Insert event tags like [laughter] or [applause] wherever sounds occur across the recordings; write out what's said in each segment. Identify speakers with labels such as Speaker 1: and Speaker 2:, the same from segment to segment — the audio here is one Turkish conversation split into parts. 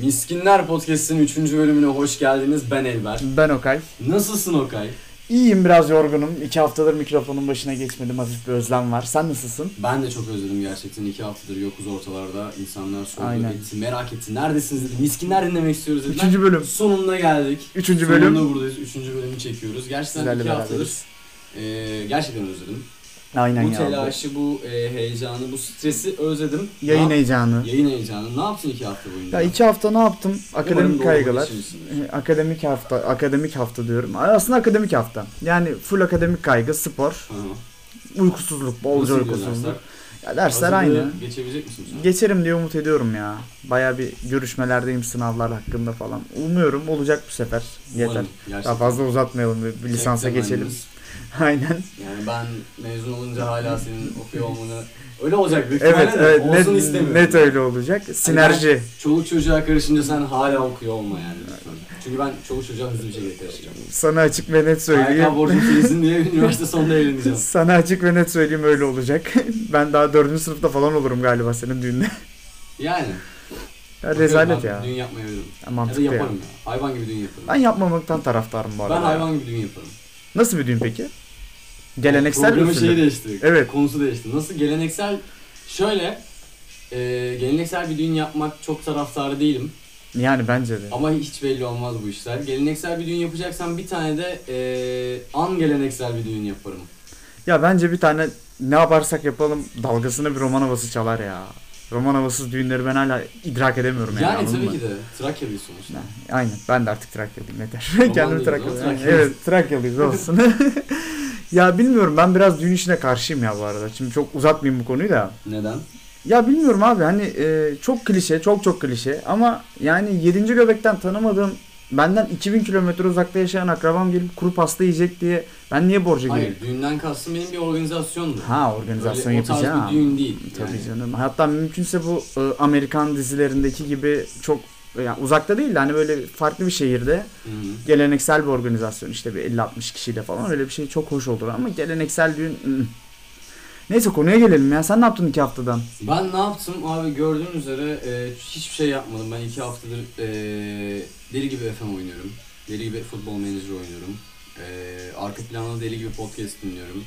Speaker 1: Miskinler Podcast'in 3. bölümüne hoş geldiniz. Ben Elber.
Speaker 2: Ben Okay.
Speaker 1: Nasılsın Okay?
Speaker 2: İyiyim biraz yorgunum. İki haftadır mikrofonun başına geçmedim. Hafif bir özlem var. Sen nasılsın?
Speaker 1: Ben de çok özledim gerçekten. iki haftadır yokuz ortalarda. İnsanlar sordu
Speaker 2: Aynen.
Speaker 1: etti, merak etti. Neredesiniz dedi. Miskinler dinlemek istiyoruz dediler.
Speaker 2: Üçüncü bölüm.
Speaker 1: Sonunda geldik.
Speaker 2: Üçüncü bölüm.
Speaker 1: Sonunda buradayız. Üçüncü bölümü çekiyoruz. Gerçekten
Speaker 2: Sizlerle
Speaker 1: iki haftadır
Speaker 2: beraberiz.
Speaker 1: eee, gerçekten özledim.
Speaker 2: Aynen
Speaker 1: bu
Speaker 2: ya.
Speaker 1: telaşı, bu eee, heyecanı, bu stresi özledim.
Speaker 2: Yayın
Speaker 1: Ne yap-
Speaker 2: heyecanı.
Speaker 1: Yayın heyecanı. Ne yaptın iki hafta boyunca?
Speaker 2: Ya iki hafta ne yaptım?
Speaker 1: Umarım
Speaker 2: Akademik
Speaker 1: doğru
Speaker 2: kaygılar.
Speaker 1: geçirmişsindir.
Speaker 2: E, Akademik hafta, akademik hafta diyorum. Aslında akademik hafta. Yani full akademik kaygı, spor,
Speaker 1: Hı hı.
Speaker 2: uykusuzluk, bolca
Speaker 1: Nasıl gidiyor
Speaker 2: uykusuzluk.
Speaker 1: dersler?
Speaker 2: Ya dersler
Speaker 1: Hazırlığı
Speaker 2: aynı.
Speaker 1: Geçebilecek misin sen?
Speaker 2: Geçerim diye umut ediyorum ya. Baya bir görüşmelerdeyim sınavlar hakkında falan. Umuyorum olacak bu sefer. Yeter.
Speaker 1: Umarım, gerçekten.
Speaker 2: Daha fazla uzatmayalım bir, bir lisansa
Speaker 1: Tek
Speaker 2: geçelim.
Speaker 1: temennimiz.
Speaker 2: [laughs] Aynen.
Speaker 1: Yani ben mezun olunca hala senin okuyor olmanı öyle olacak büyük
Speaker 2: Evet,
Speaker 1: ihtimalle de
Speaker 2: evet.
Speaker 1: olsun
Speaker 2: Net,
Speaker 1: istemiyorum.
Speaker 2: net öyle olacak. Sinerji.
Speaker 1: Çoluk çocuğa karışınca sen hala okuyor olma yani lütfen. Çünkü ben çoluk çocuğa hızlı bir şekilde karışacağım.
Speaker 2: Sana açık ve net
Speaker 1: Erkan
Speaker 2: söyleyeyim.
Speaker 1: borcum kesin diye üniversite sonunda evleneceğim.
Speaker 2: Sana açık ve net söyleyeyim öyle olacak. [laughs] ben daha dördüncü sınıfta falan olurum galiba senin düğünde.
Speaker 1: Yani.
Speaker 2: [laughs] Ya rezalet
Speaker 1: bakıyorum
Speaker 2: ya.
Speaker 1: ben Düğün yapmayabilirim.
Speaker 2: Ya
Speaker 1: Ya da
Speaker 2: Mantıklı ya.
Speaker 1: yaparım ya. Hayvan gibi düğün yaparım.
Speaker 2: Ben yapmamaktan taraftarım bu
Speaker 1: Ben
Speaker 2: arada. ya.
Speaker 1: hayvan gibi düğün yaparım.
Speaker 2: Nasıl bir düğün peki? Geleneksel bir
Speaker 1: Programın şeyi
Speaker 2: usulü.
Speaker 1: değişti.
Speaker 2: Evet.
Speaker 1: Konusu değişti. Nasıl geleneksel şöyle e, geleneksel bir düğün yapmak çok taraftarı değilim.
Speaker 2: Yani bence de.
Speaker 1: Ama hiç belli olmaz bu işler. Geleneksel bir düğün yapacaksan bir tane de eee an geleneksel bir düğün yaparım.
Speaker 2: Ya bence bir tane ne yaparsak yapalım dalgasına bir roman havası çalar ya. Roman havasız düğünleri ben hala idrak edemiyorum yani.
Speaker 1: Yani
Speaker 2: anladın
Speaker 1: tabii
Speaker 2: mı?
Speaker 1: ki de Trakya bir sonuçta.
Speaker 2: Ha, Aynen. Ben de artık Trakyalıyım yeter.
Speaker 1: Roman
Speaker 2: [laughs] Kendimi
Speaker 1: değil,
Speaker 2: Trakyalıyım.
Speaker 1: ama
Speaker 2: Yani
Speaker 1: Trakyalıyız.
Speaker 2: Evet Trakyalıyız olsun. [laughs] ya bilmiyorum ben biraz düğün işine karşıyım ya bu arada. Şimdi çok uzatmayayım bu konuyu da.
Speaker 1: Neden?
Speaker 2: Ya bilmiyorum abi hani e, çok klişe çok çok klişe ama yani 7. göbekten tanımadığım benden 2000 kilometre uzakta yaşayan akrabam gelip kuru pasta yiyecek diye ben niye borca gireyim?
Speaker 1: Hayır, düğünden kastım benim bir organizasyondu.
Speaker 2: Ha
Speaker 1: Öyle
Speaker 2: organizasyon
Speaker 1: o tarz
Speaker 2: yapacağım.
Speaker 1: bir düğün değil.
Speaker 2: Tabii
Speaker 1: yani.
Speaker 2: canım. Hatta mümkünse bu e, Amerikan dizilerindeki gibi çok yani uzakta değil de hani böyle farklı bir şehirde
Speaker 1: Hı hı.
Speaker 2: geleneksel bir organizasyon işte bir 50-60 kişiyle falan öyle bir şey çok hoş olur ama geleneksel düğün ı-ı. Neyse konuya gelelim ya sen ne yaptın iki haftadan?
Speaker 1: Ben ne yaptım abi gördüğün üzere eee, hiçbir şey yapmadım. Ben iki haftadır eee, deli gibi FM oynuyorum. Deli gibi futbol menajeri oynuyorum. Eee, arka planda deli gibi podcast dinliyorum.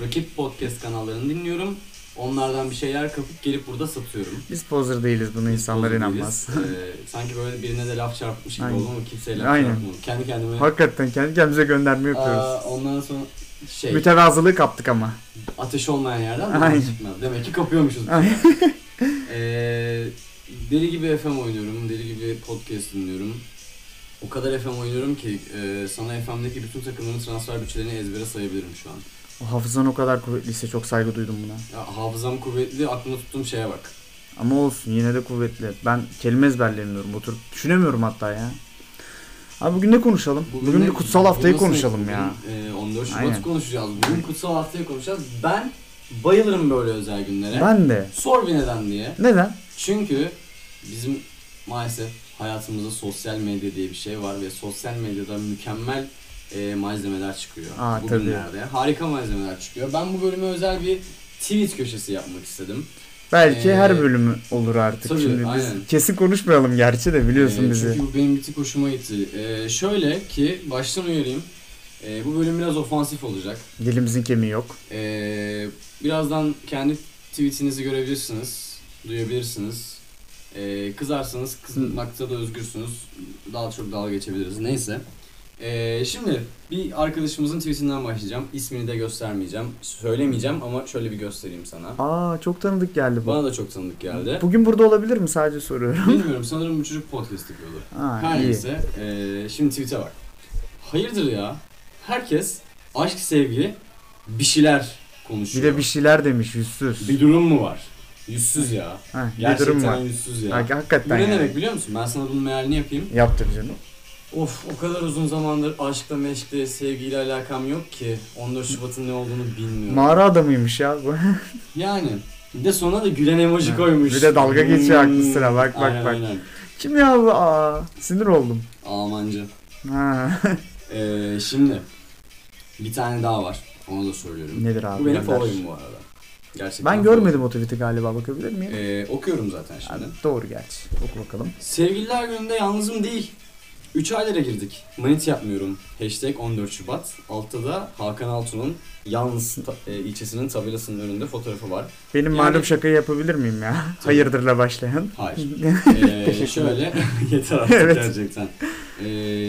Speaker 1: Rakip podcast kanallarını dinliyorum. Onlardan bir şeyler kapıp gelip burada satıyorum.
Speaker 2: Biz poser değiliz bunu insanlar
Speaker 1: Biz
Speaker 2: inanmaz.
Speaker 1: değiliz. Ee, sanki böyle birine de laf çarpmış gibi
Speaker 2: Aynen.
Speaker 1: oldum ama kimseye laf
Speaker 2: Aynen.
Speaker 1: çarpmadım. Kendi kendime.
Speaker 2: Hakikaten kendi kendimize gönderme yapıyoruz.
Speaker 1: Aa, ondan sonra şey
Speaker 2: Mütevazılığı kaptık ama.
Speaker 1: ateş olmayan yerden
Speaker 2: Aynen.
Speaker 1: duman çıkmaz. Demek ki kapıyormuşuz. [laughs] Ee, deli gibi FM oynuyorum, deli gibi podcast dinliyorum. O kadar FM oynuyorum ki e, sana FM'deki bütün takımların transfer bütçelerini ezbere sayabilirim şu an.
Speaker 2: O hafızan o kadar kuvvetliyse çok saygı duydum buna.
Speaker 1: Ya, hafızam kuvvetli, aklımda tuttuğum şeye bak.
Speaker 2: Ama olsun yine de kuvvetli. Ben kelime ezberleyemiyorum. Oturup düşünemiyorum hatta ya. Abi bugün ne konuşalım? Bugün,
Speaker 1: ne-
Speaker 2: bir kutsal haftayı
Speaker 1: bugün nasıl-
Speaker 2: konuşalım ya.
Speaker 1: bugün, e, 14 Şubat
Speaker 2: Aynen.
Speaker 1: konuşacağız. Bugün kutsal haftayı konuşacağız. Ben bayılırım böyle özel günlere.
Speaker 2: Ben de.
Speaker 1: Sor bir neden diye.
Speaker 2: Neden?
Speaker 1: Çünkü bizim maalesef hayatımızda sosyal medya diye bir şey var ve sosyal medyada mükemmel e, malzemeler çıkıyor.
Speaker 2: Aa, tabii.
Speaker 1: Bugünlerde harika malzemeler çıkıyor. Ben bu bölüme özel bir tweet köşesi yapmak istedim.
Speaker 2: Belki
Speaker 1: Ee,
Speaker 2: her bölümü olur artık.
Speaker 1: tabii,
Speaker 2: Şimdi biz
Speaker 1: aynen.
Speaker 2: kesin konuşmayalım gerçi de biliyorsun
Speaker 1: Ee,
Speaker 2: bizi.
Speaker 1: Çünkü bu benim bir tık hoşuma gitti. Ee, şöyle ki baştan uyarayım. Ee, bu bölüm biraz ofansif olacak.
Speaker 2: Dilimizin kemiği yok.
Speaker 1: Ee, birazdan kendi tweetinizi görebilirsiniz, duyabilirsiniz. Ee, kızarsanız kızmakta da özgürsünüz. Daha çok dalga geçebiliriz. Neyse. Ee, şimdi bir arkadaşımızın tweetinden başlayacağım. İsmini de göstermeyeceğim. Söylemeyeceğim ama şöyle bir göstereyim sana.
Speaker 2: Aa çok tanıdık geldi bu.
Speaker 1: Bana da çok tanıdık geldi.
Speaker 2: Bugün burada olabilir mi sadece soruyorum.
Speaker 1: Bilmiyorum sanırım bu çocuk podcast yapıyordu.
Speaker 2: Ha,
Speaker 1: Her
Speaker 2: iyi.
Speaker 1: neyse. ee, şimdi tweet'e bak. Hayırdır ya? Herkes aşk, sevgi, bir şeyler
Speaker 2: Bir
Speaker 1: konuşuyor.
Speaker 2: de bir şeyler demiş yüzsüz.
Speaker 1: Bir durum mu var? Yüzsüz ya.
Speaker 2: Ha, bir
Speaker 1: Gerçekten
Speaker 2: durum var.
Speaker 1: yüzsüz ya.
Speaker 2: Hak-
Speaker 1: Bu
Speaker 2: hakikaten
Speaker 1: ne
Speaker 2: yani.
Speaker 1: demek biliyor musun? Ben sana bunun mealini yapayım.
Speaker 2: Yaptır canım.
Speaker 1: Of o kadar uzun zamandır aşkla meşkle sevgiyle alakam yok ki 14 Şubat'ın ne olduğunu bilmiyorum.
Speaker 2: Mağara adamıymış ya bu. [laughs]
Speaker 1: yani bir de sonra da gülen emoji
Speaker 2: Ha,
Speaker 1: koymuş.
Speaker 2: bir de dalga geçiyor aklı sıra. Bak, bak,
Speaker 1: aynen,
Speaker 2: bak.
Speaker 1: Aynen.
Speaker 2: Kim ya bu? Aa, sinir oldum.
Speaker 1: Almanca.
Speaker 2: Ha. [laughs]
Speaker 1: Ee, şimdi bir tane daha var. Onu da söylüyorum.
Speaker 2: Nedir abi?
Speaker 1: bu benim
Speaker 2: gönder.
Speaker 1: favorim bu arada. Gerçekten
Speaker 2: Ben görmedim o tweet'i galiba bakabilir miyim?
Speaker 1: Ee, okuyorum zaten şimdi.
Speaker 2: Ha, doğru gerçi. Oku bakalım.
Speaker 1: Sevgililer gününde yalnızım değil. 3 aylara girdik. Manit yapmıyorum. Hashtag 14 Şubat. Altta da Hakan Altun'un yalnız ta- e, ilçesinin tabelasının önünde fotoğrafı var.
Speaker 2: Benim
Speaker 1: Yani-
Speaker 2: malum şakayı yapabilir miyim ya? [laughs] Hayırdırla başlayan.
Speaker 1: Hayır.
Speaker 2: [laughs]
Speaker 1: Ee, şöyle [laughs] yeter artık
Speaker 2: Evet.
Speaker 1: gerçekten. Ee,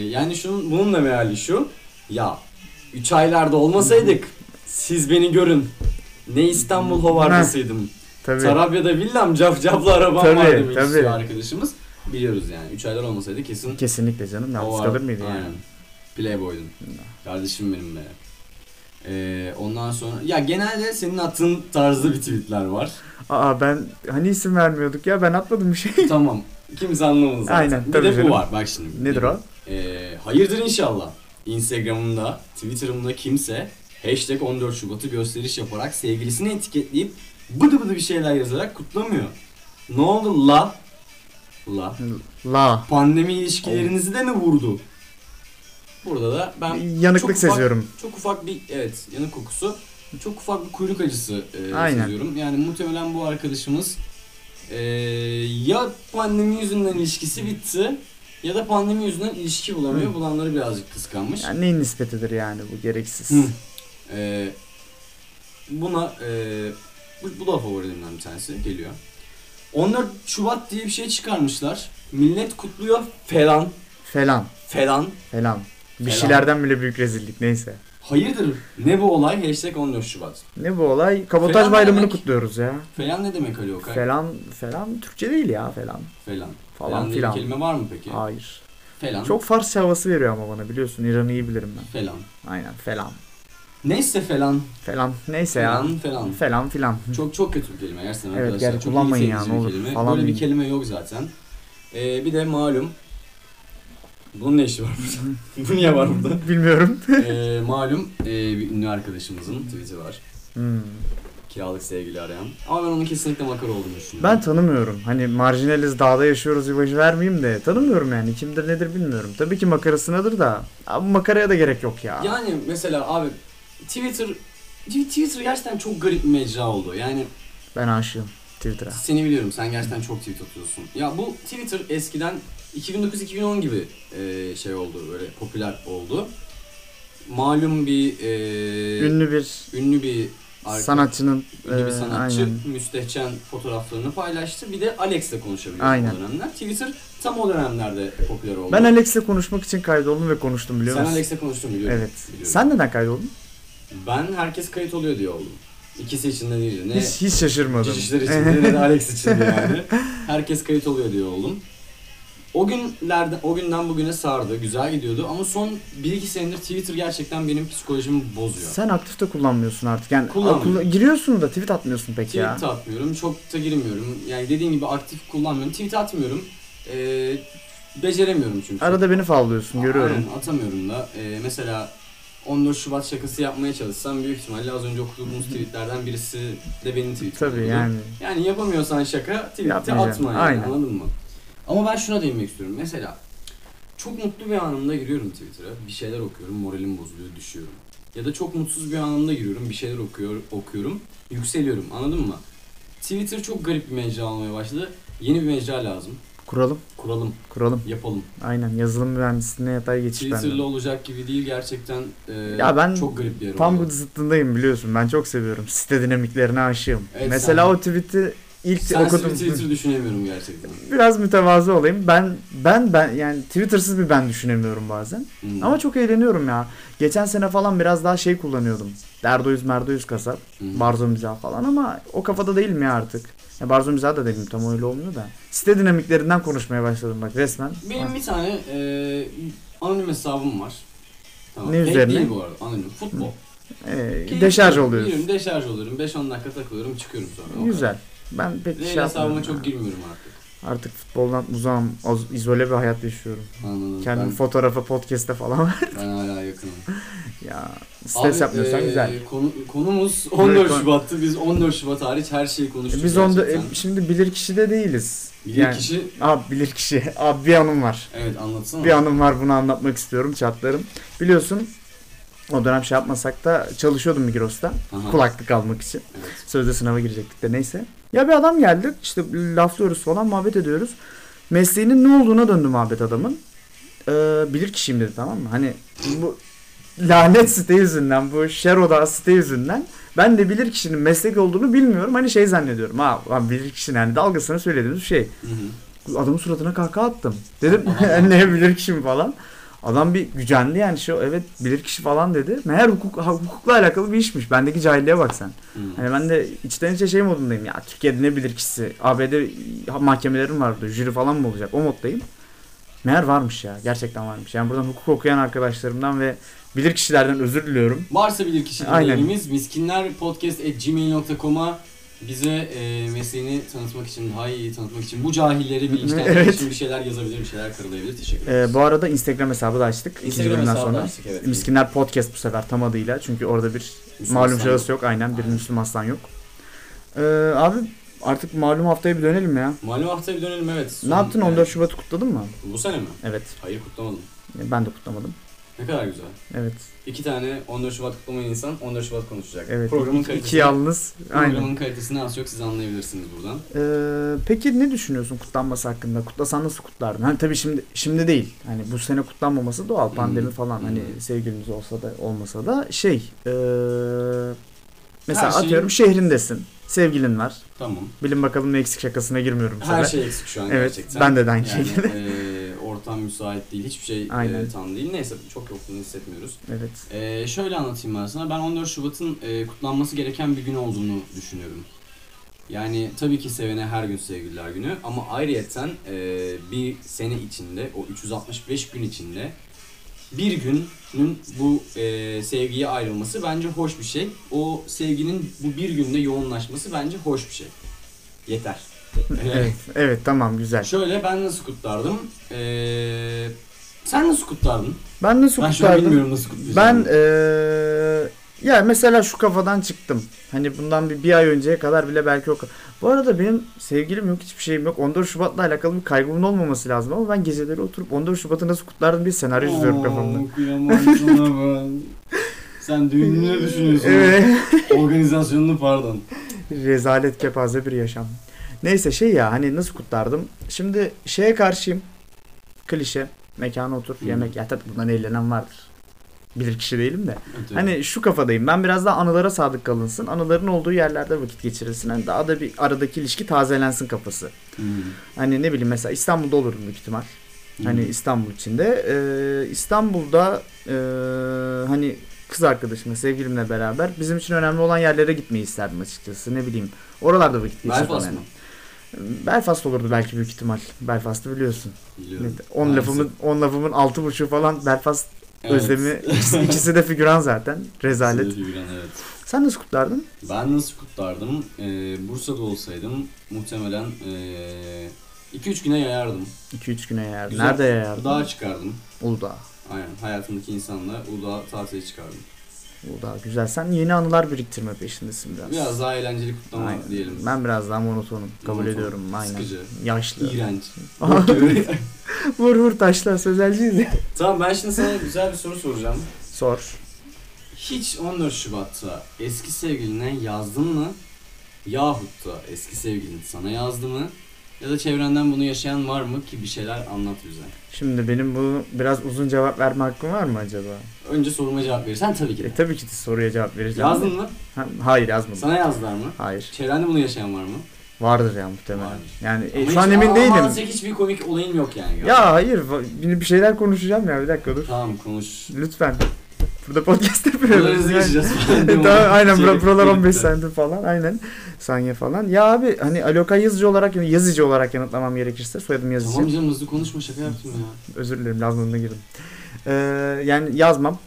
Speaker 1: yani şunun bunun da meali şu. Ya 3 aylarda olmasaydık siz beni görün. Ne İstanbul hovardasıydım.
Speaker 2: Tabii.
Speaker 1: Tarabya'da villam, cafcaflı arabam
Speaker 2: Tabii,
Speaker 1: var demek
Speaker 2: tabii.
Speaker 1: istiyor arkadaşımız. Biliyoruz yani. 3 aylar olmasaydı kesin
Speaker 2: Kesinlikle canım. Yalnız
Speaker 1: O
Speaker 2: kalır
Speaker 1: var-
Speaker 2: mıydı yani?
Speaker 1: Aynen. Playboy'dun. Kardeşim benim be. Ee, ondan sonra ya genelde senin attığın tarzda bir tweetler
Speaker 2: [laughs]
Speaker 1: var.
Speaker 2: Aa ben hani isim vermiyorduk ya ben
Speaker 1: [laughs]
Speaker 2: atmadım bir şey.
Speaker 1: tamam. Kimse anlamaz zaten.
Speaker 2: Aynen,
Speaker 1: Bir
Speaker 2: tabii
Speaker 1: de bu
Speaker 2: canım.
Speaker 1: var bak şimdi.
Speaker 2: Nedir o?
Speaker 1: Ee, hayırdır inşallah. Instagram'ımda, Twitter'ımda kimse hashtag 14 Şubat'ı gösteriş yaparak sevgilisini etiketleyip bıdı bıdı bir şeyler yazarak kutlamıyor. Ne oldu la? La.
Speaker 2: La.
Speaker 1: Pandemi ilişkilerinizi de mi vurdu? Burada da ben
Speaker 2: Yanıklık
Speaker 1: çok ufak-
Speaker 2: seziyorum.
Speaker 1: Çok ufak bir evet yanık kokusu. Çok ufak bir kuyruk acısı e,
Speaker 2: Aynen.
Speaker 1: seziyorum. Yani muhtemelen bu arkadaşımız e, ya pandemi yüzünden ilişkisi bitti ya da pandemi yüzünden ilişki bulamıyor.
Speaker 2: Hı.
Speaker 1: Bulanları birazcık kıskanmış.
Speaker 2: Yani neyin nispetidir yani bu gereksiz.
Speaker 1: Hı. E, buna e, bu, bu da favorilerimden bir tanesi geliyor. 14 Şubat diye bir şey çıkarmışlar. Millet kutluyor falan
Speaker 2: Falan.
Speaker 1: falan.
Speaker 2: Falan. Bir
Speaker 1: Falan.
Speaker 2: şeylerden bile büyük rezillik neyse.
Speaker 1: Hayırdır ne bu olay? Hashtag 14 Şubat.
Speaker 2: Ne bu olay? Kabotaj Falan ne bayramını
Speaker 1: demek?
Speaker 2: kutluyoruz ya.
Speaker 1: Falan ne demek Ali Okay?
Speaker 2: Falan falan Türkçe değil ya falan.
Speaker 1: Falan.
Speaker 2: Falan
Speaker 1: Falan diye bir
Speaker 2: filan.
Speaker 1: kelime var mı peki?
Speaker 2: Hayır.
Speaker 1: Falan.
Speaker 2: Çok Farsça havası veriyor ama bana biliyorsun İran'ı iyi bilirim ben.
Speaker 1: Falan.
Speaker 2: Aynen falan.
Speaker 1: Neyse falan.
Speaker 2: Falan neyse ya.
Speaker 1: Falan falan.
Speaker 2: Falan filan. [laughs]
Speaker 1: Çok çok kötü bir kelime gerçekten
Speaker 2: Evet,
Speaker 1: arkadaşlar.
Speaker 2: yani
Speaker 1: çok
Speaker 2: kullanmayın
Speaker 1: iyi
Speaker 2: ya,
Speaker 1: bir
Speaker 2: ne olur.
Speaker 1: Kelime.
Speaker 2: Falan
Speaker 1: Böyle bir
Speaker 2: değil.
Speaker 1: kelime yok zaten. Ee, bir de malum. Bunun ne işi var burada?
Speaker 2: [laughs]
Speaker 1: Bu niye var burada?
Speaker 2: Bilmiyorum.
Speaker 1: ee, malum ee, bir ünlü arkadaşımızın tweet'i var.
Speaker 2: Hmm.
Speaker 1: Kiralık sevgili arayan. Ama ben onun kesinlikle makara olduğunu düşünüyorum.
Speaker 2: Ben tanımıyorum. Hani marjinaliz dağda yaşıyoruz imajı vermeyeyim de tanımıyorum yani. Kimdir nedir bilmiyorum. Tabii ki makarasınadır da. Abi makaraya da gerek yok ya.
Speaker 1: Yani mesela abi Twitter Twitter gerçekten çok garip bir mecra oldu. Yani
Speaker 2: Ben aşığım Twitter'a.
Speaker 1: Seni biliyorum. Sen gerçekten çok tweet atıyorsun. Ya bu Twitter eskiden 2009-2010 gibi e, şey oldu. Böyle popüler oldu. Malum bir e,
Speaker 2: Ünlü bir
Speaker 1: ünlü bir arka-
Speaker 2: sanatçının
Speaker 1: ünlü bir
Speaker 2: e,
Speaker 1: sanatçı
Speaker 2: aynen.
Speaker 1: müstehcen fotoğraflarını paylaştı. Bir de Alex'le konuşabiliyordu
Speaker 2: Aynen.
Speaker 1: o dönemler. Twitter tam o dönemlerde popüler oldu.
Speaker 2: Ben Alex'le konuşmak için kaydoldum ve konuştum biliyor
Speaker 1: Sen
Speaker 2: musun?
Speaker 1: Alex'le konuştun biliyorum.
Speaker 2: Evet.
Speaker 1: Biliyorum.
Speaker 2: Sen neden kaydoldun?
Speaker 1: Ben herkes kayıt oluyor diye oldum. İkisi için de değil. Ne
Speaker 2: Hiç, hiç şaşırmadım. E,
Speaker 1: Cicişler için de ne de Alex için de yani.
Speaker 2: [laughs]
Speaker 1: Herkes kayıt oluyor diye oğlum. O günlerden, o günden bugüne sardı, güzel gidiyordu ama son 1-2 senedir Twitter gerçekten benim psikolojimi bozuyor.
Speaker 2: Sen aktif de kullanmıyorsun artık. Yani
Speaker 1: Kullanmıyorum.
Speaker 2: akla- giriyorsun da tweet atmıyorsun pek
Speaker 1: Tweet
Speaker 2: ya.
Speaker 1: atmıyorum, çok da girmiyorum. Yani dediğin gibi aktif kullanmıyorum, tweet atmıyorum. Ee, beceremiyorum çünkü.
Speaker 2: Arada beni favlıyorsun görüyorum.
Speaker 1: Aynen, atamıyorum da. Ee, mesela 14 Şubat şakası yapmaya çalışsam büyük ihtimalle az önce okuduğumuz tweetlerden birisi de benim tweetim.
Speaker 2: Tabii
Speaker 1: olurdu.
Speaker 2: yani.
Speaker 1: Yani yapamıyorsan şaka tweet'te
Speaker 2: Yapmayacaksın.
Speaker 1: atma yani
Speaker 2: Aynen.
Speaker 1: anladın mı? Ama ben şuna değinmek istiyorum. Mesela çok mutlu bir anımda giriyorum Twitter'a. Bir şeyler okuyorum, moralim bozuluyor, düşüyorum. Ya da çok mutsuz bir anımda giriyorum, bir şeyler okuyor, okuyorum, yükseliyorum. Anladın mı? Twitter çok garip bir mecra olmaya başladı. Yeni bir mecra lazım.
Speaker 2: Kuralım.
Speaker 1: Kuralım,
Speaker 2: Kuralım.
Speaker 1: yapalım.
Speaker 2: Aynen. Yazılım mühendisliğine yatay geçiş bende.
Speaker 1: Twitter'la olacak gibi değil gerçekten e,
Speaker 2: Ya ben
Speaker 1: çok garip bir yer
Speaker 2: Tam
Speaker 1: oldu.
Speaker 2: bu zıttındayım biliyorsun. Ben çok seviyorum. Site dinamiklerine aşığım.
Speaker 1: Evet,
Speaker 2: Mesela
Speaker 1: sen-
Speaker 2: o tweet'i ilk
Speaker 1: Sensiz bir
Speaker 2: okudum.
Speaker 1: Twitter düşünemiyorum gerçekten.
Speaker 2: Biraz mütevazı olayım. Ben ben ben yani Twitter'sız bir ben düşünemiyorum bazen.
Speaker 1: Hmm.
Speaker 2: Ama çok eğleniyorum ya. Geçen sene falan biraz daha şey kullanıyordum. Derdoyuz merdoyuz kasap.
Speaker 1: Hmm.
Speaker 2: Barzo mizahı falan ama o kafada değilim ya artık. Ya barzo mizahı da değilim tam öyle olmuyor da. Site dinamiklerinden konuşmaya başladım bak resmen.
Speaker 1: Benim bir tane e, anonim hesabım var.
Speaker 2: Ne
Speaker 1: Fake
Speaker 2: üzerine?
Speaker 1: Değil bu arada anonim. Futbol.
Speaker 2: Ee,
Speaker 1: Keyifli.
Speaker 2: deşarj oluyoruz.
Speaker 1: Giriyorum, deşarj oluyorum. 5-10 dakika takılıyorum, çıkıyorum sonra. O kadar.
Speaker 2: Güzel. Ben pek
Speaker 1: Değil
Speaker 2: şey yapmıyorum.
Speaker 1: hesabıma
Speaker 2: ya.
Speaker 1: çok girmiyorum artık.
Speaker 2: Artık futboldan uzağım. az- izole bir hayat yaşıyorum.
Speaker 1: Anladım.
Speaker 2: Kendim
Speaker 1: ben,
Speaker 2: fotoğrafa, podcast'te falan. [laughs]
Speaker 1: ben hala yakınım.
Speaker 2: ya [laughs] stres
Speaker 1: Abi,
Speaker 2: yapmıyorsan
Speaker 1: e,
Speaker 2: güzel.
Speaker 1: Konu, konumuz
Speaker 2: Evet,
Speaker 1: 14
Speaker 2: konu-
Speaker 1: Şubat'tı. Biz 14 Şubat hariç her şeyi konuştuk.
Speaker 2: E, Biz onda
Speaker 1: gerçekten.
Speaker 2: e, şimdi bilir kişi de değiliz.
Speaker 1: Bir
Speaker 2: yani,
Speaker 1: kişi...
Speaker 2: Abi bilir kişi. [laughs] Abi bir anım var.
Speaker 1: Evet anlatsana.
Speaker 2: Bir anım var bunu anlatmak istiyorum çatlarım. Biliyorsun O dönem şey yapmasak da çalışıyordum Migros'ta.
Speaker 1: Aha.
Speaker 2: Kulaklık almak için.
Speaker 1: Evet.
Speaker 2: Sözde sınava girecektik de neyse. Ya bir adam geldi işte laflıyoruz falan muhabbet ediyoruz. Mesleğinin ne olduğuna döndü muhabbet adamın. Ee, bilir kişiyim dedi tamam mı? Hani bu lanet site yüzünden bu Şeroda site yüzünden ben de bilir kişinin meslek olduğunu bilmiyorum. Hani şey zannediyorum. Ha lan bilir kişinin hani dalgasını söylediğimiz şey.
Speaker 1: Hı hı.
Speaker 2: Adamın suratına kahkaha attım. Dedim ne bilir kişi mi falan. Adam bir gücendi yani şu evet bilir kişi falan dedi. Meğer hukuk, ha, hukukla alakalı bir işmiş. Bendeki cahilliğe bak sen.
Speaker 1: Hı.
Speaker 2: Hani ben de içten içe şey modundayım ya Türkiye'de ne bilir kişisi ABD mahkemelerim vardı jüri falan mı olacak o moddayım. Meğer varmış ya gerçekten varmış. Yani buradan hukuk okuyan arkadaşlarımdan ve bilir kişilerden özür diliyorum.
Speaker 1: Varsa bilir kişi
Speaker 2: Aynen.
Speaker 1: dinleyenimiz miskinlerpodcast.gmail.com'a bize e, mesleğini tanıtmak için, daha iyi tanıtmak için, bu cahilleri bilinçlendirmek
Speaker 2: Evet.
Speaker 1: için bir şeyler yazabilir, bir şeyler kırılabilir. Teşekkür ederiz.
Speaker 2: Ee, bu arada Instagram hesabı da açtık. İkinci
Speaker 1: Instagram
Speaker 2: bölümden
Speaker 1: hesabı da
Speaker 2: sonra.
Speaker 1: açtık, evet.
Speaker 2: Miskinler Podcast bu sefer tam adıyla. Çünkü orada bir
Speaker 1: Müslüm
Speaker 2: malum
Speaker 1: Aslan.
Speaker 2: şahıs yok. Aynen bir
Speaker 1: Aynen.
Speaker 2: Müslüm Aslan yok. Ee, abi artık malum haftaya bir dönelim ya.
Speaker 1: Malum haftaya bir dönelim evet. Son-
Speaker 2: Ne yaptın
Speaker 1: evet.
Speaker 2: 14 Şubat'ı kutladın mı?
Speaker 1: Bu sene mi?
Speaker 2: Evet.
Speaker 1: Hayır kutlamadım.
Speaker 2: Ben de kutlamadım.
Speaker 1: Ne kadar güzel.
Speaker 2: Evet.
Speaker 1: İki tane 14 Şubat kutlamayan insan 14 Şubat konuşacak.
Speaker 2: Evet.
Speaker 1: Programın
Speaker 2: İki-
Speaker 1: kalitesi.
Speaker 2: İki yalnız.
Speaker 1: Programın
Speaker 2: Aynen.
Speaker 1: kalitesini az çok siz anlayabilirsiniz buradan.
Speaker 2: Ee, peki ne düşünüyorsun kutlanması hakkında? Kutlasan nasıl kutlardın? Hani tabii şimdi şimdi değil. Hani bu sene kutlanmaması doğal. Pandemi
Speaker 1: Hı,
Speaker 2: falan
Speaker 1: hı.
Speaker 2: hani sevgiliniz olsa da olmasa da şey ee, mesela
Speaker 1: Her şeyi-
Speaker 2: atıyorum şehrindesin. Sevgilin var.
Speaker 1: Tamam.
Speaker 2: Bilin bakalım ne eksik şakasına girmiyorum bu
Speaker 1: Her
Speaker 2: sefer.
Speaker 1: şey eksik şu an
Speaker 2: Evet,
Speaker 1: gerçekten.
Speaker 2: ben de de aynı
Speaker 1: yani,
Speaker 2: şekilde.
Speaker 1: eee, ortam müsait değil. Hiçbir şey
Speaker 2: Aynen.
Speaker 1: eee, tam değil. Neyse çok yokluğunu hissetmiyoruz.
Speaker 2: Evet.
Speaker 1: Eee, şöyle anlatayım ben sana. Ben 14 Şubat'ın eee, kutlanması gereken bir gün olduğunu düşünüyorum. Yani tabii ki sevene her gün sevgililer günü ama ayrıyeten eee, bir sene içinde, o 365 gün içinde bir günün bu eee, sevgiye ayrılması bence hoş bir şey. O sevginin bu bir günde yoğunlaşması bence hoş bir şey. Yeter.
Speaker 2: Evet. Evet tamam güzel.
Speaker 1: Şöyle ben nasıl kutlardım? Ee, sen nasıl kutlardın?
Speaker 2: Ben nasıl
Speaker 1: Ben şu an
Speaker 2: kutlardım?
Speaker 1: bilmiyorum nasıl kutlayacağım.
Speaker 2: Ben eee ya mesela şu kafadan çıktım. Hani bundan bir, bir ay önceye kadar bile belki o ka- Bu arada benim sevgilim yok hiçbir şeyim yok. 14 Şubat'la alakalı bir kaygımın olmaması lazım ama ben geceleri oturup 14 Şubat'ı nasıl kutlardım bir senaryo çiziyorum kafamda.
Speaker 1: Oo, kıyamam sana ben. Sen
Speaker 2: [laughs]
Speaker 1: düğününü ne düşünüyorsun?
Speaker 2: Evet.
Speaker 1: Organizasyonunu pardon.
Speaker 2: Rezalet kepaze bir yaşam. Neyse şey ya hani nasıl kutlardım? Şimdi şeye karşıyım. Klişe. Mekana otur,
Speaker 1: Hı.
Speaker 2: yemek. Ya tabii bundan eğlenen vardır. Bilir kişi değilim de. Hani şu kafadayım. Ben biraz daha anılara sadık kalınsın. Anıların olduğu yerlerde vakit geçirilsin. Hani daha da bir aradaki ilişki tazelensin kafası.
Speaker 1: Hmm.
Speaker 2: Hani ne bileyim mesela İstanbul'da olurum büyük ihtimal. Hani
Speaker 1: Hmm.
Speaker 2: İstanbul içinde. Ee, İstanbul'da ee, hani kız arkadaşımla, sevgilimle beraber bizim için önemli olan yerlere gitmeyi isterdim açıkçası. Ne bileyim. Oralarda vakit geçirdim.
Speaker 1: Belfast
Speaker 2: yani.
Speaker 1: mı?
Speaker 2: Belfast olurdu belki büyük ihtimal. Belfast'ı biliyorsun.
Speaker 1: Biliyorum.
Speaker 2: On
Speaker 1: Maalesef.
Speaker 2: lafımın, on lafımın altı buçuğu falan Belfast
Speaker 1: Evet. [laughs]
Speaker 2: özlemi. İkisi, ikisi de figüran zaten. Rezalet.
Speaker 1: Sivri Gülen, evet.
Speaker 2: Sen nasıl kutlardın?
Speaker 1: Ben nasıl kutlardım? Ee, Bursa'da olsaydım muhtemelen 2-3 güne yayardım.
Speaker 2: 2-3 güne yayardın.
Speaker 1: Güzel.
Speaker 2: Nerede yayardın?
Speaker 1: Dağa çıkardım.
Speaker 2: Uludağ.
Speaker 1: Aynen hayatımdaki insanla Uludağ'a tatile çıkardım.
Speaker 2: Uludağ güzel. Sen yeni anılar biriktirme peşindesin biraz.
Speaker 1: Biraz daha eğlenceli kutlama
Speaker 2: Aynen.
Speaker 1: diyelim.
Speaker 2: Ben biraz daha monotonum. Kabul
Speaker 1: Monoton,
Speaker 2: ediyorum. Aynen.
Speaker 1: sıkıcı,
Speaker 2: Yaşlı.
Speaker 1: İğrenç.
Speaker 2: [laughs] vur vur taşla sözelciyiz ya.
Speaker 1: tamam ben şimdi sana güzel bir soru soracağım.
Speaker 2: Sor.
Speaker 1: Hiç 14 Şubat'ta eski sevgiline yazdın mı? Yahut da eski sevgilin sana yazdı mı? Ya da çevrenden bunu yaşayan var mı ki bir şeyler anlat bize.
Speaker 2: Şimdi benim bu biraz uzun cevap verme hakkım var mı acaba?
Speaker 1: Önce soruma cevap verirsen tabii ki de.
Speaker 2: E, tabii ki de soruya cevap vereceğim.
Speaker 1: Yazdın mı?
Speaker 2: Ha, hayır yazmadım.
Speaker 1: Sana yazdılar mı?
Speaker 2: Hayır.
Speaker 1: Çevrende bunu yaşayan var mı?
Speaker 2: Vardır ya muhtemelen.
Speaker 1: Vardır.
Speaker 2: Yani e,
Speaker 1: Ama
Speaker 2: şu an
Speaker 1: hiç-
Speaker 2: emin değilim.
Speaker 1: Maalesef hiçbir komik olayın yok yani.
Speaker 2: ya hayır. va- Bir bir şeyler konuşacağım ya. Bir dakika dur.
Speaker 1: Tamam
Speaker 2: [laughs]
Speaker 1: konuş.
Speaker 2: Lütfen. Burada podcast yapıyoruz.
Speaker 1: Buraları hızlı
Speaker 2: Yani- [laughs]
Speaker 1: geçeceğiz.
Speaker 2: tamam aynen bura-
Speaker 1: Çelik-
Speaker 2: buralar 15
Speaker 1: çelikte.
Speaker 2: senedir falan aynen saniye falan. Ya abi hani Aloka yazıcı olarak yazıcı olarak yanıtlamam gerekirse soyadım yazıcı.
Speaker 1: Tamam canım hızlı konuşma şaka yaptım ya.
Speaker 2: Özür dilerim lazımına girdim. Ee, yani yazmam.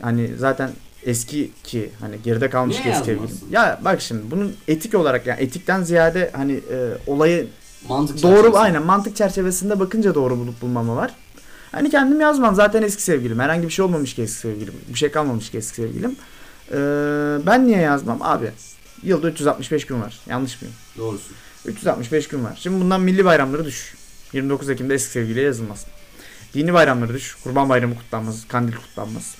Speaker 2: Hani zaten eski ki hani geride kalmış
Speaker 1: Niye
Speaker 2: ki eski
Speaker 1: yazmazsın?
Speaker 2: sevgilim. Ya bak şimdi bunun etik olarak yani etikten ziyade hani e, olayı
Speaker 1: Mantık
Speaker 2: doğru
Speaker 1: çerçevesi.
Speaker 2: aynen mantık çerçevesinde bakınca doğru bulup bulmama var. Hani kendim yazmam zaten eski sevgilim. Herhangi bir şey olmamış ki eski sevgilim. Bir şey kalmamış ki eski sevgilim. Ee, ben niye yazmam abi? Yılda 365 gün var. Yanlış mıyım?
Speaker 1: Doğrusu.
Speaker 2: 365 gün var. Şimdi bundan milli bayramları düş. 29 Ekim'de eski sevgiliye yazılmaz. Dini bayramları düş. Kurban bayramı kutlanmaz. Kandil kutlanmaz.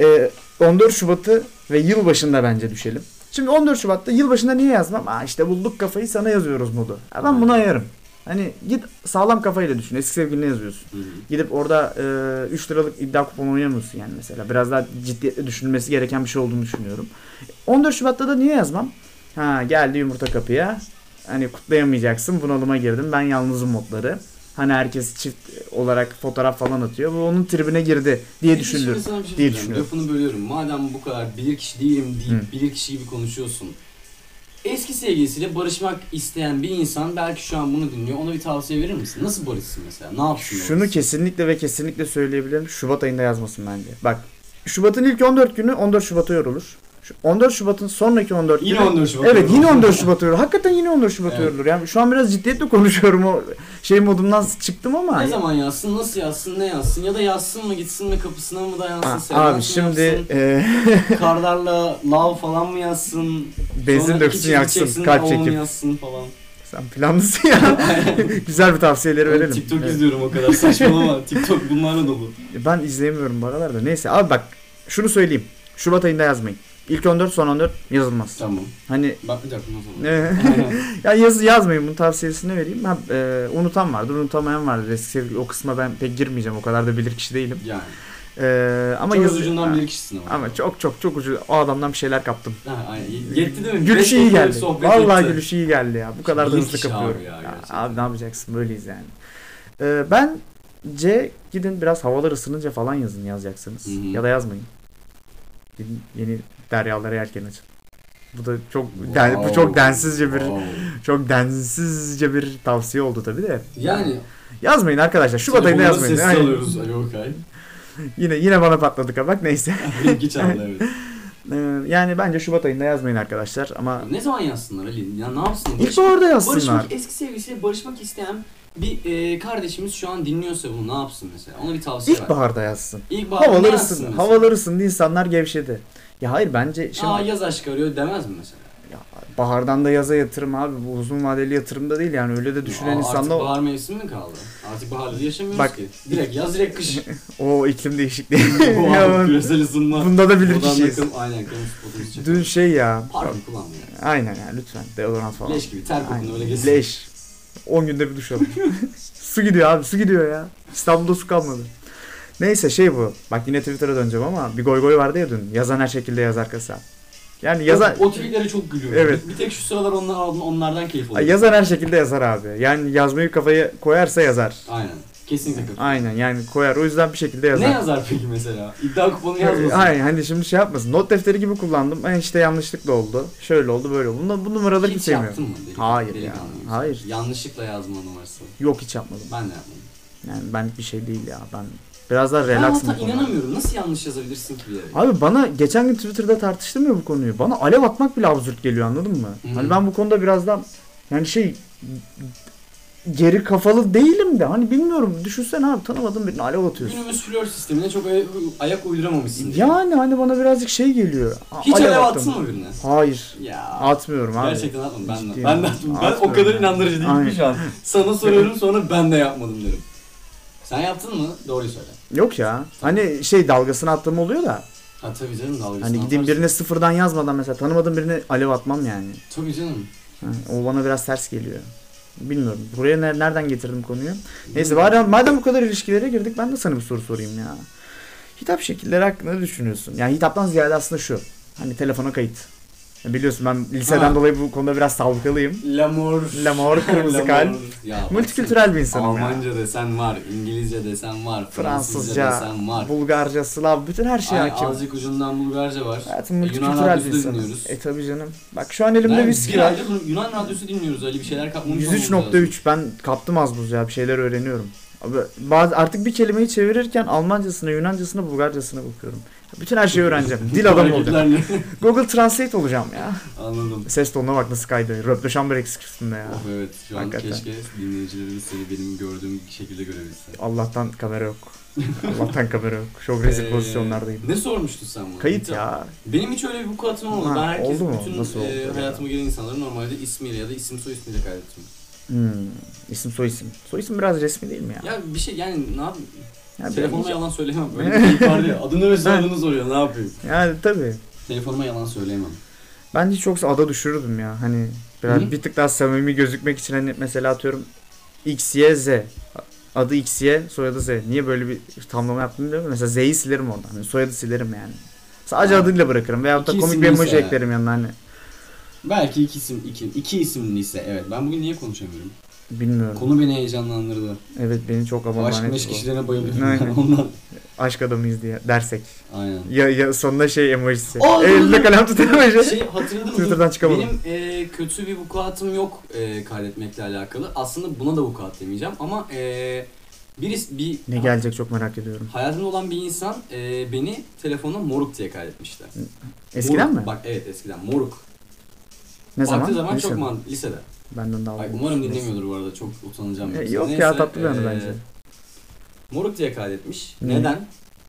Speaker 2: e, 14 Şubat'ı ve yılbaşında bence düşelim. Şimdi 14 Şubat'ta yılbaşında niye yazmam? Aa işte bulduk kafayı sana yazıyoruz modu. Ya ben bunu ayarım. Hani git sağlam kafayla düşün. Eski sevgiline yazıyorsun.
Speaker 1: Hı hı.
Speaker 2: Gidip orada e, 3 liralık iddia kuponu oynamıyorsun yani mesela. Biraz daha ciddiyetle düşünülmesi gereken bir şey olduğunu düşünüyorum. 14 Şubat'ta da niye yazmam? Ha geldi yumurta kapıya. Hani kutlayamayacaksın. Bunalıma girdim. Ben yalnızım modları. Hani herkes çift olarak fotoğraf falan atıyor. Bu onun tribine girdi diye
Speaker 1: Peki
Speaker 2: düşünülür.
Speaker 1: Şimdi sana bir şey
Speaker 2: diye
Speaker 1: soracağım.
Speaker 2: düşünüyorum.
Speaker 1: Lafını bölüyorum. Madem bu kadar bilirkişi değilim deyip bilirkişi gibi konuşuyorsun. Eski sevgilisiyle barışmak isteyen bir insan belki şu an bunu dinliyor. Ona bir tavsiye verir misin? Nasıl barışsın mesela? Ne yapsın?
Speaker 2: Şunu kesinlikle ve kesinlikle söyleyebilirim. Şubat ayında yazmasın bence. Bak Şubat'ın ilk 14 günü 14 Şubat'a yorulur. Şu 14 Şubat'ın sonraki 14 günü.
Speaker 1: Yine 14 Şubat.
Speaker 2: Evet yine 14 Şubat yorulur. Hakikaten yine 14 Şubat
Speaker 1: Evet.
Speaker 2: yorulur. Yani şu an biraz ciddiyetle [laughs] konuşuyorum o şey modumdan çıktım ama. hani-
Speaker 1: Ne zaman yazsın, nasıl yazsın, ne yazsın ya da yazsın mı gitsin mi kapısına mı dayansın,
Speaker 2: Ha,
Speaker 1: seversin
Speaker 2: abi
Speaker 1: mi
Speaker 2: şimdi
Speaker 1: yapsın,
Speaker 2: e,
Speaker 1: karlarla lav falan mı yazsın,
Speaker 2: [laughs] benzin
Speaker 1: sonra
Speaker 2: döksün
Speaker 1: içecek
Speaker 2: yaksın
Speaker 1: çeksin,
Speaker 2: kalp
Speaker 1: avun
Speaker 2: çekim.
Speaker 1: yazsın falan.
Speaker 2: Sen
Speaker 1: [laughs]
Speaker 2: planlısın ya. [laughs] Güzel bir tavsiyeleri
Speaker 1: Ben
Speaker 2: verelim.
Speaker 1: TikTok
Speaker 2: Evet.
Speaker 1: izliyorum o kadar
Speaker 2: [laughs]
Speaker 1: saçmalama. TikTok bunlarla dolu.
Speaker 2: Ben izleyemiyorum bu aralarda. Neyse abi bak şunu söyleyeyim. Şubat ayında yazmayın. İlk 14 son 14 yazılmaz.
Speaker 1: Tamam.
Speaker 2: Hani
Speaker 1: Bakmayacak mı nasıl? [laughs]
Speaker 2: ya yaz, yazmayın bunun tavsiyesini vereyim. Ha, e, unutan vardır, unutamayan vardır. Eski sevgili o kısma ben pek girmeyeceğim. O kadar da bilir kişi değilim.
Speaker 1: yani.
Speaker 2: E, ama
Speaker 1: Ama Çok
Speaker 2: yaz-
Speaker 1: ucundan
Speaker 2: Ha,
Speaker 1: bir kişisin ama.
Speaker 2: Ama çok çok çok ucu. O adamdan bir şeyler kaptım.
Speaker 1: Ha, aynen. Yetti değil mi? Beş
Speaker 2: Gülüş iyi
Speaker 1: dakikalık
Speaker 2: geldi.
Speaker 1: sohbet
Speaker 2: Vallahi
Speaker 1: yetti.
Speaker 2: gülüş iyi geldi ya. Bu kadar da
Speaker 1: Bilir
Speaker 2: hızlı
Speaker 1: kişi abi
Speaker 2: kapıyorum.
Speaker 1: ya,
Speaker 2: Ya
Speaker 1: gerçekten.
Speaker 2: abi ne yapacaksın? Böyleyiz yani. E, ben C gidin biraz havalar ısınınca falan yazın yazacaksınız.
Speaker 1: Hı hı.
Speaker 2: Ya da yazmayın. Gidin yeni deryalara yelken açın. Bu da çok
Speaker 1: Wow.
Speaker 2: den- bu çok densizce bir
Speaker 1: Wow.
Speaker 2: çok densizce bir tavsiye oldu tabii de.
Speaker 1: Yani
Speaker 2: Yazmayın arkadaşlar. Şubat ayında
Speaker 1: telefonları
Speaker 2: yazmayın.
Speaker 1: Sessiz
Speaker 2: Aynen.
Speaker 1: alıyoruz Ali
Speaker 2: [laughs]
Speaker 1: Okay.
Speaker 2: Yine yine bana patladık ha bak neyse.
Speaker 1: Benimki çaldı evet.
Speaker 2: Ee, yani bence Şubat ayında yazmayın arkadaşlar ama
Speaker 1: Ne zaman yazsınlar Ali? Ya ne yapsınlar?
Speaker 2: ilkbaharda yazsınlar.
Speaker 1: barışmak, eski sevgilisiyle barışmak isteyen bir e, kardeşimiz şu an dinliyorsa bunu ne yapsın mesela? Ona bir tavsiye ver.
Speaker 2: İlkbaharda yazsın.
Speaker 1: İlkbahar ne
Speaker 2: Havalar
Speaker 1: yazsın
Speaker 2: ısındı.
Speaker 1: mesela?
Speaker 2: Havalar ısındı insanlar gevşedi. Ya hayır bence şimdi
Speaker 1: Aa yaz aşkı arıyor demez mi mesela?
Speaker 2: ya bahardan da yaza yatırım abi bu uzun vadeli yatırım da değil yani öyle de düşünen
Speaker 1: Aa,
Speaker 2: insan da
Speaker 1: Artık
Speaker 2: o,
Speaker 1: bahar mevsimi mi kaldı? Artık baharda yaşamıyoruz
Speaker 2: Bak-
Speaker 1: ki. Direkt yaz direkt
Speaker 2: [laughs]
Speaker 1: kış. [laughs]
Speaker 2: o iklim değişikliği.
Speaker 1: Bu
Speaker 2: Ya
Speaker 1: an
Speaker 2: ben-
Speaker 1: küresel ısınma.
Speaker 2: Bunda da bilir
Speaker 1: Buradan da
Speaker 2: kişiyiz.
Speaker 1: kım- Aynen kırmızı spotumuz çıktı.
Speaker 2: Dün şey ya.
Speaker 1: Parfüm kullanmıyor.
Speaker 2: Aynen ya lütfen deodorant falan.
Speaker 1: Leş gibi ter kokunu
Speaker 2: Aynen.
Speaker 1: öyle geçsin.
Speaker 2: Leş. 10 günde bir duş alın. su gidiyor abi su gidiyor ya. İstanbul'da su kalmadı. Neyse şey bu. Bak yine Twitter'a döneceğim ama bir goy goy vardı ya dün. Yazan her şekilde yazar kasa. Yani yazan...
Speaker 1: O, o tweetlere çok gülüyorum.
Speaker 2: Evet.
Speaker 1: Bir tek şu sıralar onlar, onlardan keyif
Speaker 2: Ay,
Speaker 1: alıyorum.
Speaker 2: yazan her şekilde yazar abi. Yani yazmayı kafaya koyarsa yazar.
Speaker 1: Aynen. Kesinlikle katılıyorum.
Speaker 2: Aynen yani koyar. O yüzden bir şekilde yazar.
Speaker 1: Ne yazar peki mesela? İddia kuponu yazmasın.
Speaker 2: Aynen hani şimdi şey yapmasın. Not defteri gibi kullandım. E işte yanlışlıkla oldu. Şöyle oldu böyle oldu. Bunda, bu numaraları
Speaker 1: Hiç
Speaker 2: hiç sevmiyorum.
Speaker 1: yaptın mı? Deli-
Speaker 2: Hayır
Speaker 1: delikanlı
Speaker 2: ya,
Speaker 1: gibi?
Speaker 2: hayır.
Speaker 1: Yanlışlıkla yazma numarası.
Speaker 2: Yok hiç yapmadım.
Speaker 1: Ben de yapmadım.
Speaker 2: Yani benlik bir şey değil ya. Ben biraz daha
Speaker 1: ben
Speaker 2: relaxım.
Speaker 1: hatta
Speaker 2: bu konuda.
Speaker 1: inanamıyorum. Nasıl yanlış yazabilirsin ki bir yere?
Speaker 2: Abi bana geçen gün Twitter'da tartıştım ya bu konuyu. Bana alev atmak bile absürt geliyor anladın mı?
Speaker 1: Hı.
Speaker 2: Hani ben bu konuda biraz daha yani şey geri kafalı değilim de hani bilmiyorum düşünsene abi tanımadığın birine alev atıyorsun.
Speaker 1: Günümüz flör sistemine çok ay- ayak uyduramamışsın. diye.
Speaker 2: Yani hani bana birazcık şey geliyor. A-
Speaker 1: Hiç alev
Speaker 2: attım.
Speaker 1: attın mı birine?
Speaker 2: Hayır.
Speaker 1: Ya.
Speaker 2: Atmıyorum abi.
Speaker 1: Gerçekten atmadım. Ben de,
Speaker 2: Ciddiyim.
Speaker 1: ben de atmadım. Ben o
Speaker 2: Atmıyorum
Speaker 1: kadar
Speaker 2: yani.
Speaker 1: inandırıcı değilim
Speaker 2: Aynen.
Speaker 1: ki şu an. Sana soruyorum sonra ben de yapmadım derim. Sen yaptın mı? Doğruyu söyle.
Speaker 2: Yok ya. Hani şey dalgasını attığım oluyor da.
Speaker 1: Ha tabii canım dalgasını
Speaker 2: Hani gideyim
Speaker 1: atarsın.
Speaker 2: birine sıfırdan yazmadan mesela tanımadığım birine alev atmam yani.
Speaker 1: Tabii canım.
Speaker 2: Ha, O bana biraz ters geliyor. Bilmiyorum. Buraya ner- nereden getirdim konuyu? Neyse bari madem bu kadar ilişkilere girdik ben de sana bir soru sorayım ya. Hitap şekilleri hakkında ne düşünüyorsun? Yani hitaptan ziyade aslında şu. Hani telefona kayıt. Ya Biliyorsun ben liseden
Speaker 1: Ha.
Speaker 2: dolayı bu konuda biraz savgalıyım.
Speaker 1: Lamor. [laughs]
Speaker 2: Lamor, kırmızı
Speaker 1: Lamor.
Speaker 2: kalp.
Speaker 1: Ya bak
Speaker 2: Multikültürel bir
Speaker 1: sen,
Speaker 2: insanım ya.
Speaker 1: Almanca desen var, İngilizce desen var, Fransızca,
Speaker 2: Fransızca,
Speaker 1: desen var.
Speaker 2: Bulgarca, Slav bütün her şey
Speaker 1: Ay,
Speaker 2: hakim.
Speaker 1: azıcık ucundan Bulgarca var.
Speaker 2: Hayatım
Speaker 1: E, Yunan
Speaker 2: multikültürel bir
Speaker 1: radyosu da
Speaker 2: insanız.
Speaker 1: dinliyoruz.
Speaker 2: E tabi canım. Bak şu an elimde
Speaker 1: Ben
Speaker 2: viski
Speaker 1: bir
Speaker 2: var.
Speaker 1: aydır bunu- Yunan radyosu dinliyoruz öyle bir şeyler kapmamız olmamız lazım.
Speaker 2: 103.3 ben kaptım az buz ya bir şeyler öğreniyorum. Abi bazı artık bir kelimeyi çevirirken Almancasına, Yunancasına, Bulgarcasına bakıyorum. Bütün her şeyi öğreneceğim.
Speaker 1: [laughs]
Speaker 2: Dil adamı olacağım. [laughs]
Speaker 1: Hareketlerle-
Speaker 2: Google Translate olacağım ya.
Speaker 1: Anladım.
Speaker 2: Ses tonuna bak nasıl kaydı. Röpleşamber eksik üstünde ya.
Speaker 1: Of evet şu an
Speaker 2: Hakikaten.
Speaker 1: keşke dinleyicilerimiz seni benim gördüğüm şekilde görebilse.
Speaker 2: Allah'tan kamera yok. Allah'tan kamera yok. Çok rezil
Speaker 1: Ee,
Speaker 2: pozisyonlardayım.
Speaker 1: Ne sormuştun sen bana?
Speaker 2: Kayıt
Speaker 1: Hitap-
Speaker 2: ya.
Speaker 1: Benim hiç öyle bir vukuatım olmadı.
Speaker 2: Ha,
Speaker 1: ben herkes
Speaker 2: oldu mu?
Speaker 1: bütün
Speaker 2: Nasıl oldu
Speaker 1: e,
Speaker 2: ya?
Speaker 1: hayatıma giren insanları normalde ismiyle ya da isim soy ismiyle kaydettim.
Speaker 2: Hmm. İsim soy isim. Soy isim biraz resmi değil mi ya?
Speaker 1: Ya bir şey yani ne yapayım?
Speaker 2: Ya ben-
Speaker 1: Telefonuma yalan söyleyemem.
Speaker 2: [laughs]
Speaker 1: Böyle bir ifade. yok. Adını ve soyadını soruyor. Ne yapayım?
Speaker 2: Yani tabii.
Speaker 1: Telefonuma yalan söyleyemem.
Speaker 2: Ben hiç yoksa ada düşürürdüm ya. Hani biraz
Speaker 1: Hı?
Speaker 2: bir tık daha samimi gözükmek için hani mesela atıyorum X, Y, Z. Adı X, Y, soyadı Z. Niye böyle bir tamlama yaptım diyorum. Mesela Z'yi silerim oradan. Hani soyadı silerim yani. Sadece
Speaker 1: Ha.
Speaker 2: adıyla bırakırım. Veyahut da
Speaker 1: İki
Speaker 2: komik bir
Speaker 1: isimliyse
Speaker 2: emoji
Speaker 1: yani.
Speaker 2: eklerim yanına hani.
Speaker 1: Belki iki isim, iki, iki isimliyse evet. Ben bugün niye konuşamıyorum?
Speaker 2: Bilmiyorum.
Speaker 1: Konu beni heyecanlandırdı.
Speaker 2: Evet beni çok
Speaker 1: Bu
Speaker 2: ama
Speaker 1: aşk
Speaker 2: lanet
Speaker 1: meşk
Speaker 2: bu.
Speaker 1: işlerine bayıldım.
Speaker 2: Aynen.
Speaker 1: Ondan.
Speaker 2: Aşk adamıyız diye dersek.
Speaker 1: Aynen.
Speaker 2: Ya, ya sonunda şey emojisi.
Speaker 1: Aa, dur,
Speaker 2: Elinde
Speaker 1: dur.
Speaker 2: kalem tutan emoji.
Speaker 1: Şey hatırladım.
Speaker 2: Twitter'dan çıkamadım.
Speaker 1: Benim e, kötü bir vukuatım yok e, kaydetmekle alakalı. Aslında buna da vukuat demeyeceğim ama e, birisi bir
Speaker 2: Ne gelecek çok merak ediyorum.
Speaker 1: hayatımda olan bir insan e, beni telefona moruk diye kaydetmişti.
Speaker 2: Eskiden
Speaker 1: Moruk.
Speaker 2: mi?
Speaker 1: Bak evet eskiden moruk.
Speaker 2: ne zaman?
Speaker 1: Baktığı zaman
Speaker 2: Lisede.
Speaker 1: çok mantıklı. Lisede.
Speaker 2: Benden daha
Speaker 1: Ay,
Speaker 2: olmuş.
Speaker 1: umarım
Speaker 2: Neyse.
Speaker 1: dinlemiyordur bu arada. Çok utanacağım.
Speaker 2: E,
Speaker 1: yoksa.
Speaker 2: yok ya,
Speaker 1: Neyse,
Speaker 2: tatlı bir anı
Speaker 1: e,
Speaker 2: bence.
Speaker 1: Moruk diye kaydetmiş.
Speaker 2: Niye?
Speaker 1: Neden?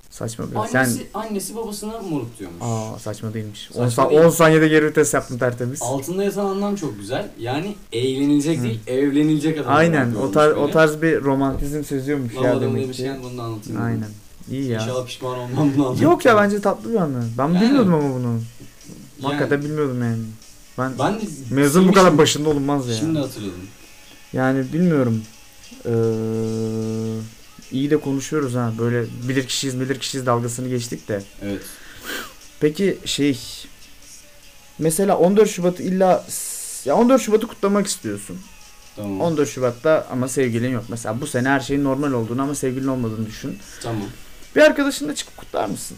Speaker 2: Saçma biraz. Sen...
Speaker 1: Annesi, annesi babasına moruk diyormuş.
Speaker 2: Aa saçma değilmiş.
Speaker 1: Saçma
Speaker 2: 10, sa-
Speaker 1: değil.
Speaker 2: 10 saniyede geri vites yaptım tertemiz.
Speaker 1: Altında yazan anlam çok güzel. Yani eğlenilecek
Speaker 2: Hı.
Speaker 1: değil, evlenilecek adam.
Speaker 2: Aynen.
Speaker 1: olarak
Speaker 2: O, tar- o
Speaker 1: olmuş
Speaker 2: tarz bir romantizm seziyormuş
Speaker 1: böyle.
Speaker 2: ya
Speaker 1: Lavaboda
Speaker 2: demek ki.
Speaker 1: demişken bunu da anlatayım.
Speaker 2: Aynen. İyi ya.
Speaker 1: şey İnşallah pişman olmam bunu anlatayım.
Speaker 2: Yok ya bence tatlı bir anı. Ben
Speaker 1: Yani.
Speaker 2: bilmiyordum ama bunu.
Speaker 1: Yani
Speaker 2: Hakikaten bilmiyordum yani. Ben,
Speaker 1: Ben de
Speaker 2: mezun bu kadar
Speaker 1: şimdi-
Speaker 2: başında olunmaz ya.
Speaker 1: Şimdi hatırladım.
Speaker 2: Yani bilmiyorum. Ee, iyi de konuşuyoruz ha. Böyle bilir kişiyiz bilir kişiyiz dalgasını geçtik de.
Speaker 1: Evet.
Speaker 2: Peki şey mesela 14 Şubat'ı illa ya 14 Şubat'ı kutlamak istiyorsun.
Speaker 1: Tamam.
Speaker 2: 14 Şubat'ta ama sevgilin yok. Mesela bu sene her şeyin normal olduğunu ama sevgilin olmadığını düşün.
Speaker 1: Tamam.
Speaker 2: Bir arkadaşınla çıkıp kutlar mısın?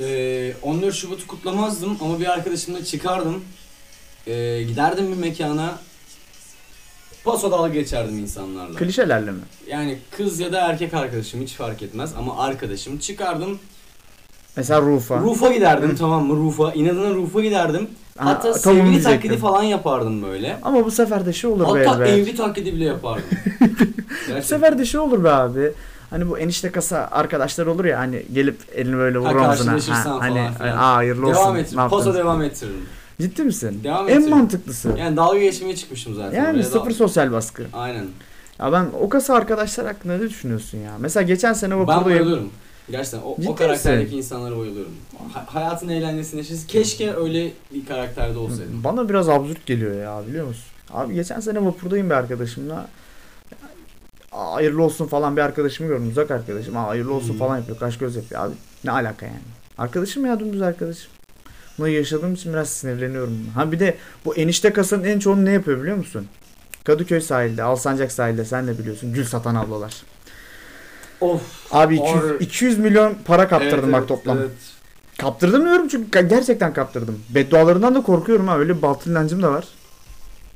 Speaker 1: Ee, 14 Şubat'ı kutlamazdım ama bir arkadaşımla çıkardım. Ee, giderdim bir mekana. Paso dalga geçerdim insanlarla.
Speaker 2: Klişelerle mi?
Speaker 1: Yani kız ya da erkek arkadaşım hiç fark etmez ama arkadaşım çıkardım.
Speaker 2: Mesela Rufa.
Speaker 1: Rufa giderdim
Speaker 2: Hı.
Speaker 1: tamam mı? Rufa. inadına Rufa giderdim.
Speaker 2: Aa,
Speaker 1: Hatta
Speaker 2: tavuğunu
Speaker 1: sevgili
Speaker 2: diyecektim.
Speaker 1: taklidi falan yapardım böyle.
Speaker 2: Ama bu sefer de şey olur be.
Speaker 1: Hatta
Speaker 2: be.
Speaker 1: evli taklidi bile
Speaker 2: [laughs]
Speaker 1: yapardım. Gerçekten.
Speaker 2: Bu sefer de şey olur be abi. Hani bu enişte kasa arkadaşlar olur ya hani gelip elini böyle
Speaker 1: Ha,
Speaker 2: vurur omzuna.
Speaker 1: karşılaşırsan falan
Speaker 2: hani
Speaker 1: filan.
Speaker 2: aa hayırlı olsun.
Speaker 1: Devam
Speaker 2: ne
Speaker 1: ettiririm.
Speaker 2: yaptın?
Speaker 1: Paso devam ettiririm.
Speaker 2: Ciddi misin?
Speaker 1: Devam
Speaker 2: en
Speaker 1: ettiririm.
Speaker 2: mantıklısı. Yani,
Speaker 1: Yani dalga geçmeye çıkmışım zaten. oraya da-
Speaker 2: sıfır sosyal baskı.
Speaker 1: Aynen.
Speaker 2: Ya ben o kasa arkadaşlar hakkında ne düşünüyorsun ya? Mesela geçen sene
Speaker 1: Ben
Speaker 2: vapurda
Speaker 1: bayılıyorum. Gerçekten o,
Speaker 2: Ciddi
Speaker 1: o karakterdeki insanlara bayılıyorum. Ha- hayatın eğlencesini yaşıyoruz. Keşke öyle bir karakterde olsaydım.
Speaker 2: Bana biraz absürt geliyor ya biliyor musun? Abi geçen sene vapurdayım bir arkadaşımla. Aa, hayırlı olsun falan bir arkadaşımı gördüm uzak arkadaşım. Aa, hayırlı olsun
Speaker 1: Hı.
Speaker 2: falan yapıyor kaş göz yapıyor abi. Ne alaka yani? Arkadaşım ya dümdüz arkadaşım. Bunu yaşadığım için biraz sinirleniyorum. Ha bir de bu enişte kasanın en çoğunu ne yapıyor biliyor musun? Kadıköy sahilde, Alsancak sahilde sen de biliyorsun gül satan ablalar.
Speaker 1: Of.
Speaker 2: Abi 200,
Speaker 1: Abi.
Speaker 2: 200 milyon para kaptırdım
Speaker 1: evet,
Speaker 2: bak
Speaker 1: evet,
Speaker 2: toplam.
Speaker 1: evet.
Speaker 2: Kaptırdım diyorum çünkü ka- gerçekten kaptırdım. Beddualarından da korkuyorum ha öyle bir batıl inancım da var.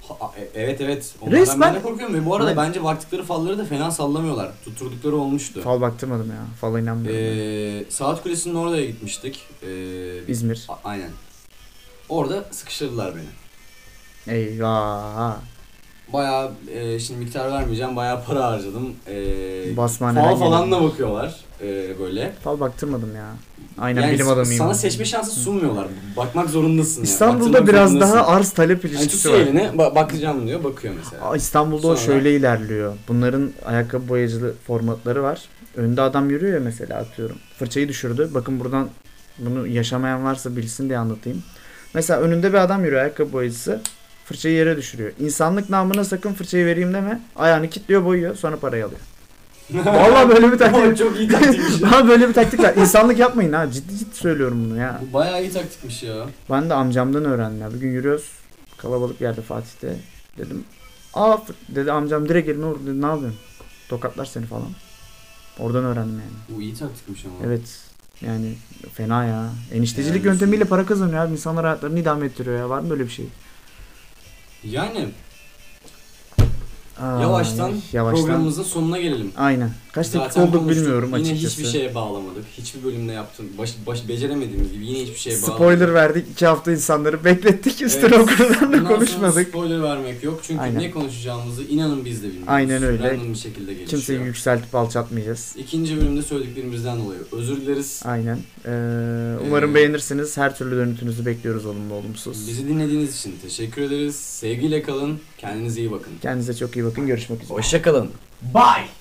Speaker 1: Ha, e- evet evet. Onlardan
Speaker 2: Resmen-
Speaker 1: ben de korkuyorum ve bu arada
Speaker 2: Aynen.
Speaker 1: bence baktıkları falları da fena sallamıyorlar. Tutturdukları olmuştu.
Speaker 2: Fal baktırmadım ya. Fala inanmıyorum.
Speaker 1: Ee, Saat Kulesi'nin oraya gitmiştik. Ee, biz-
Speaker 2: İzmir.
Speaker 1: A- aynen. Orada sıkıştırdılar beni.
Speaker 2: Eyvah.
Speaker 1: Bayağı e, şimdi miktar vermeyeceğim. Bayağı para harcadım. Ee,
Speaker 2: Basmaneden
Speaker 1: fal falan
Speaker 2: geliyor.
Speaker 1: da bakıyorlar e, böyle.
Speaker 2: Fal baktırmadım ya. Aynen
Speaker 1: Yani
Speaker 2: bilim adamıyım.
Speaker 1: Sana seçme şansı sunmuyorlar. Bakmak zorundasın. yani.
Speaker 2: İstanbul'da
Speaker 1: Baktırmak
Speaker 2: biraz
Speaker 1: zorundasın.
Speaker 2: daha arz talep
Speaker 1: yani
Speaker 2: ilişkisi
Speaker 1: tutuyor
Speaker 2: var.
Speaker 1: elini, ba- bakacağım diyor, bakıyor mesela.
Speaker 2: Aa, İstanbul'da o
Speaker 1: Sonra-
Speaker 2: şöyle ilerliyor. Bunların ayakkabı boyacılı formatları var. Önde adam yürüyor ya mesela atıyorum. Fırçayı düşürdü. Bakın buradan bunu yaşamayan varsa bilsin diye anlatayım. Mesela önünde bir adam yürüyor ayakkabı boyacısı. Fırçayı yere düşürüyor. İnsanlık namına sakın fırçayı vereyim deme. Ayağını kilitliyor boyuyor sonra parayı
Speaker 1: [laughs]
Speaker 2: alıyor. Vallahi böyle bir taktik.
Speaker 1: Oğlum çok iyi
Speaker 2: [laughs]
Speaker 1: taktikmiş. ya.
Speaker 2: Ha böyle bir taktik var. İnsanlık yapmayın ha. Ciddi ciddi söylüyorum bunu ya.
Speaker 1: Bu bayağı iyi taktikmiş ya.
Speaker 2: Ben de amcamdan öğrendim ya. Bir gün yürüyoruz. Kalabalık bir yerde Fatih'te. Dedim. Aa f- dedi amcam direkt elime vurdu. Dedi, ne yapıyorsun? Tokatlar seni falan. Oradan öğrendim yani.
Speaker 1: Bu iyi taktikmiş ama.
Speaker 2: Evet. Yani fena ya. Eniştecilik
Speaker 1: Yani- şey-
Speaker 2: yöntemiyle para kazanıyor abi. İnsanlar hayatlarını idame ettiriyor ya. Var mı böyle bir şey?
Speaker 1: Yani
Speaker 2: Aa,
Speaker 1: yavaştan,
Speaker 2: yavaştan.
Speaker 1: programımızın sonuna gelelim.
Speaker 2: Aynen. Kaç dakika
Speaker 1: Zaten
Speaker 2: olduk
Speaker 1: konuştuk.
Speaker 2: bilmiyorum
Speaker 1: yine
Speaker 2: açıkçası.
Speaker 1: hiçbir şey- şeye bağlamadık. Hiçbir bölümde yaptım. Baş, baş beceremediğimiz gibi yine hiçbir şeye bağlamadık.
Speaker 2: Spoiler verdik. iki hafta insanları beklettik. Üstüne
Speaker 1: şey Evet.
Speaker 2: o kadar
Speaker 1: Bundan
Speaker 2: da
Speaker 1: sonra
Speaker 2: konuşmadık.
Speaker 1: spoiler vermek yok çünkü
Speaker 2: Aynen.
Speaker 1: ne konuşacağımızı inanın biz de bilmiyoruz.
Speaker 2: Aynen öyle.
Speaker 1: Random bir şekilde gelişiyor.
Speaker 2: Kimseyi yükseltip alçaltmayacağız.
Speaker 1: İkinci bölümde söylediklerimizden dolayı özür dileriz.
Speaker 2: Aynen. Ee, umarım
Speaker 1: Ee,
Speaker 2: beğenirsiniz. Her türlü dönütünüzü bekliyoruz olumlu olumsuz.
Speaker 1: Bizi dinlediğiniz için teşekkür ederiz. Sevgiyle kalın. Kendinize iyi bakın.
Speaker 2: Kendinize çok iyi bakın. Görüşmek üzere.
Speaker 1: Hoşçakalın.
Speaker 3: Bye.